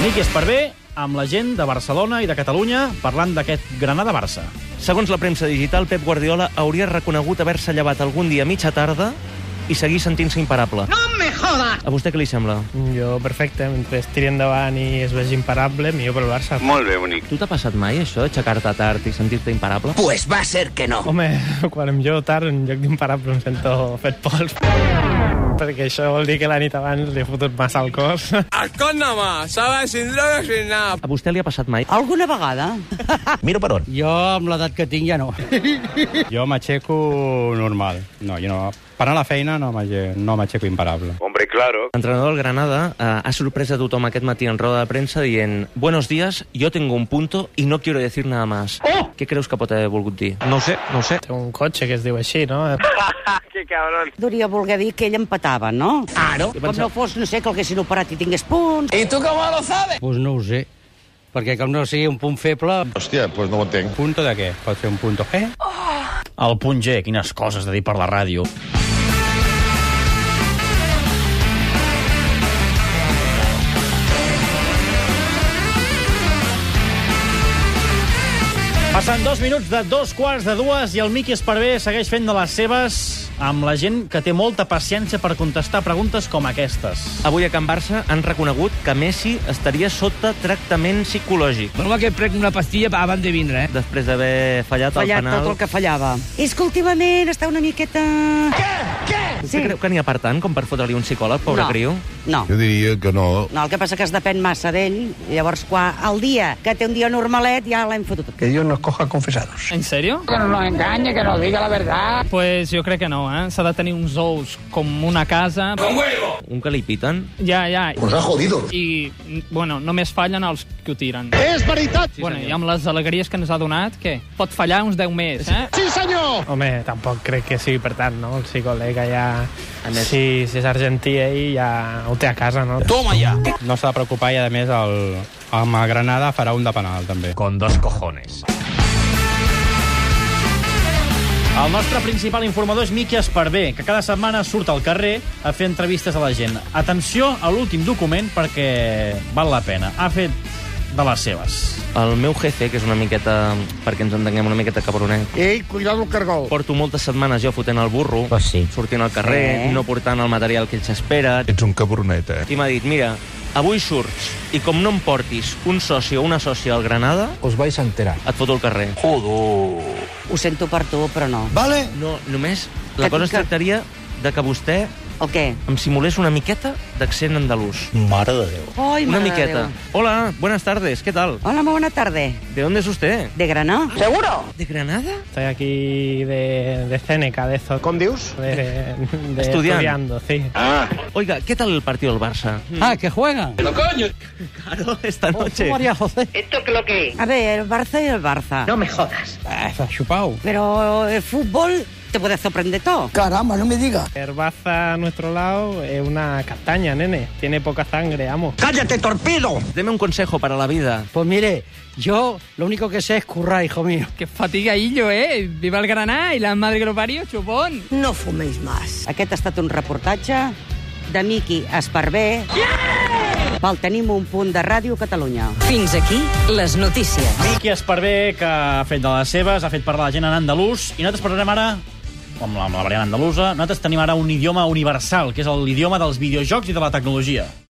Enric Esparvé amb la gent de Barcelona i de Catalunya parlant d'aquest Granada-Barça. Segons la premsa digital, Pep Guardiola hauria reconegut haver-se llevat algun dia a mitja tarda i seguir sentint-se imparable. ¡No me jodas! A vostè què li sembla? Jo, perfecte, mentre es tiri endavant i es vegi imparable, millor pel Barça. Molt bé, bonic. Tu t'ha passat mai, això, aixecar-te tard i sentir-te imparable? Pues va a ser que no. Home, quan jo tard, en lloc d'imparable, em sento fet pols. Perquè això vol dir que la nit abans li he fotut massa al cos. A vostè li ha passat mai? Alguna vegada. Miro per on. Jo, amb l'edat que tinc, ja no. Jo m'aixeco normal. No, jo no... Per anar a la feina no m'aixeco no m'aixeco imparable. Hombre, claro. L'entrenador del Granada eh, ha sorprès a tothom aquest matí en roda de premsa dient «Buenos días, yo tengo un punto y no quiero decir nada más». Oh! Què creus que pot haver volgut dir? No sé, no sé. Té un cotxe que es diu així, no? Qué cabrón. Duria voler dir que ell empatava, no? Claro. Com no fos, no sé, que el haguessin operat i tingués punts. ¿Y tú cómo lo sabes? Doncs pues no ho sé, perquè com no sigui un punt feble... Hòstia, doncs no ho entenc. Punto de què? Pot ser un punto G? El punt G, quines coses de dir per la ràdio. Passen dos minuts de dos quarts de dues i el Miqui Esparvé segueix fent de les seves amb la gent que té molta paciència per contestar preguntes com aquestes. Avui a Can Barça han reconegut que Messi estaria sota tractament psicològic Sembla que prenc una pastilla abans de vindre, eh? després d'haver fallat, el Fallat penal. tot el que fallava. És que últimament està una miqueta... Què? Què? Vostè creu que n'hi ha per tant com per fotre-li un psicòleg, pobre no. criu? No. Jo diria que no. No, el que passa que es depèn massa d'ell. Llavors, quan el dia que té un dia normalet, ja l'hem fotut. Que Dios nos coja confesados. ¿En serio? Que no nos engañe, que nos diga la verdad. Pues jo crec que no, eh? S'ha de tenir uns ous com una casa. Un que li piten? Ja, ja. Pues ha jodido. I, bueno, només fallen els que ho tiren. És veritat! Sí, bueno, i amb les alegries que ens ha donat, què? Pot fallar uns 10 més, eh? Sí, senyor! Home, tampoc crec que sigui per tant, no? El psicòleg ja... A més- Si, si és argentí, ell ja ho té a casa, no? Toma ya. No s'ha de preocupar i, a més, el, amb el Granada farà un de penal, també. Con dos cojones. El nostre principal informador és Miqui Esparvé, que cada setmana surt al carrer a fer entrevistes a la gent. Atenció a l'últim document perquè val la pena. Ha fet de les seves. El meu jefe, que és una miqueta, perquè ens entenguem, una miqueta cabronet, Ei, cuidado el cargol. porto moltes setmanes jo fotent el burro, Pues sí. sortint al carrer, Sí. no portant el material que ells esperen, Ets un cabronet, eh? i m'ha dit, mira, avui surts i com no em portis un soci o una sòcia al Granada, Os vais a enterar. et foto al carrer. Oh. Ho sento per tu, però no. Vale. No, només la Que- cosa es que- tractaria de que vostè El què? em simulés una miqueta d'accent andalús. Mare de Déu. Ai, Una mare de miqueta. Déu. Hola, buenas tardes, ¿qué tal? Hola, molt bona tarda. ¿De dónde es usted? De Granà? ¿De Granada? Estoy aquí de, de Céneca, de esto. Com dius? De, de Estudiant. estudiando, sí. Oiga, ¿qué tal el partido del Barça? Oh, Ah, que juega. Claro, esta noche. José. Esto que lo que A ver, el Barça i el Barça. No me jodas. Xupau. Pero el fútbol te puede sorprender todo. Caramba, no me diga. Herbaza a nuestro lado es una castaña, nene. Tiene poca sangre, amo. ¡Cállate, torpedo! Deme un consejo para la vida. Pues mire, yo lo único que sé es currar, hijo mío. Que fatiga illo, eh? Viva el Granà i la madre que lo parió, xupón. No fuméis más. Aquest ha estat un reportatge de Miqui Esparvé. Yeah! Pel Tenim un punt de Ràdio Catalunya. Fins aquí les notícies. Miqui Esparvé, que ha fet de les seves, ha fet parlar la gent en andalús, i nosaltres parlarem ara amb la, amb la variant andalusa, nosaltres tenim ara un idioma universal, que és l'idioma dels videojocs i de la tecnologia.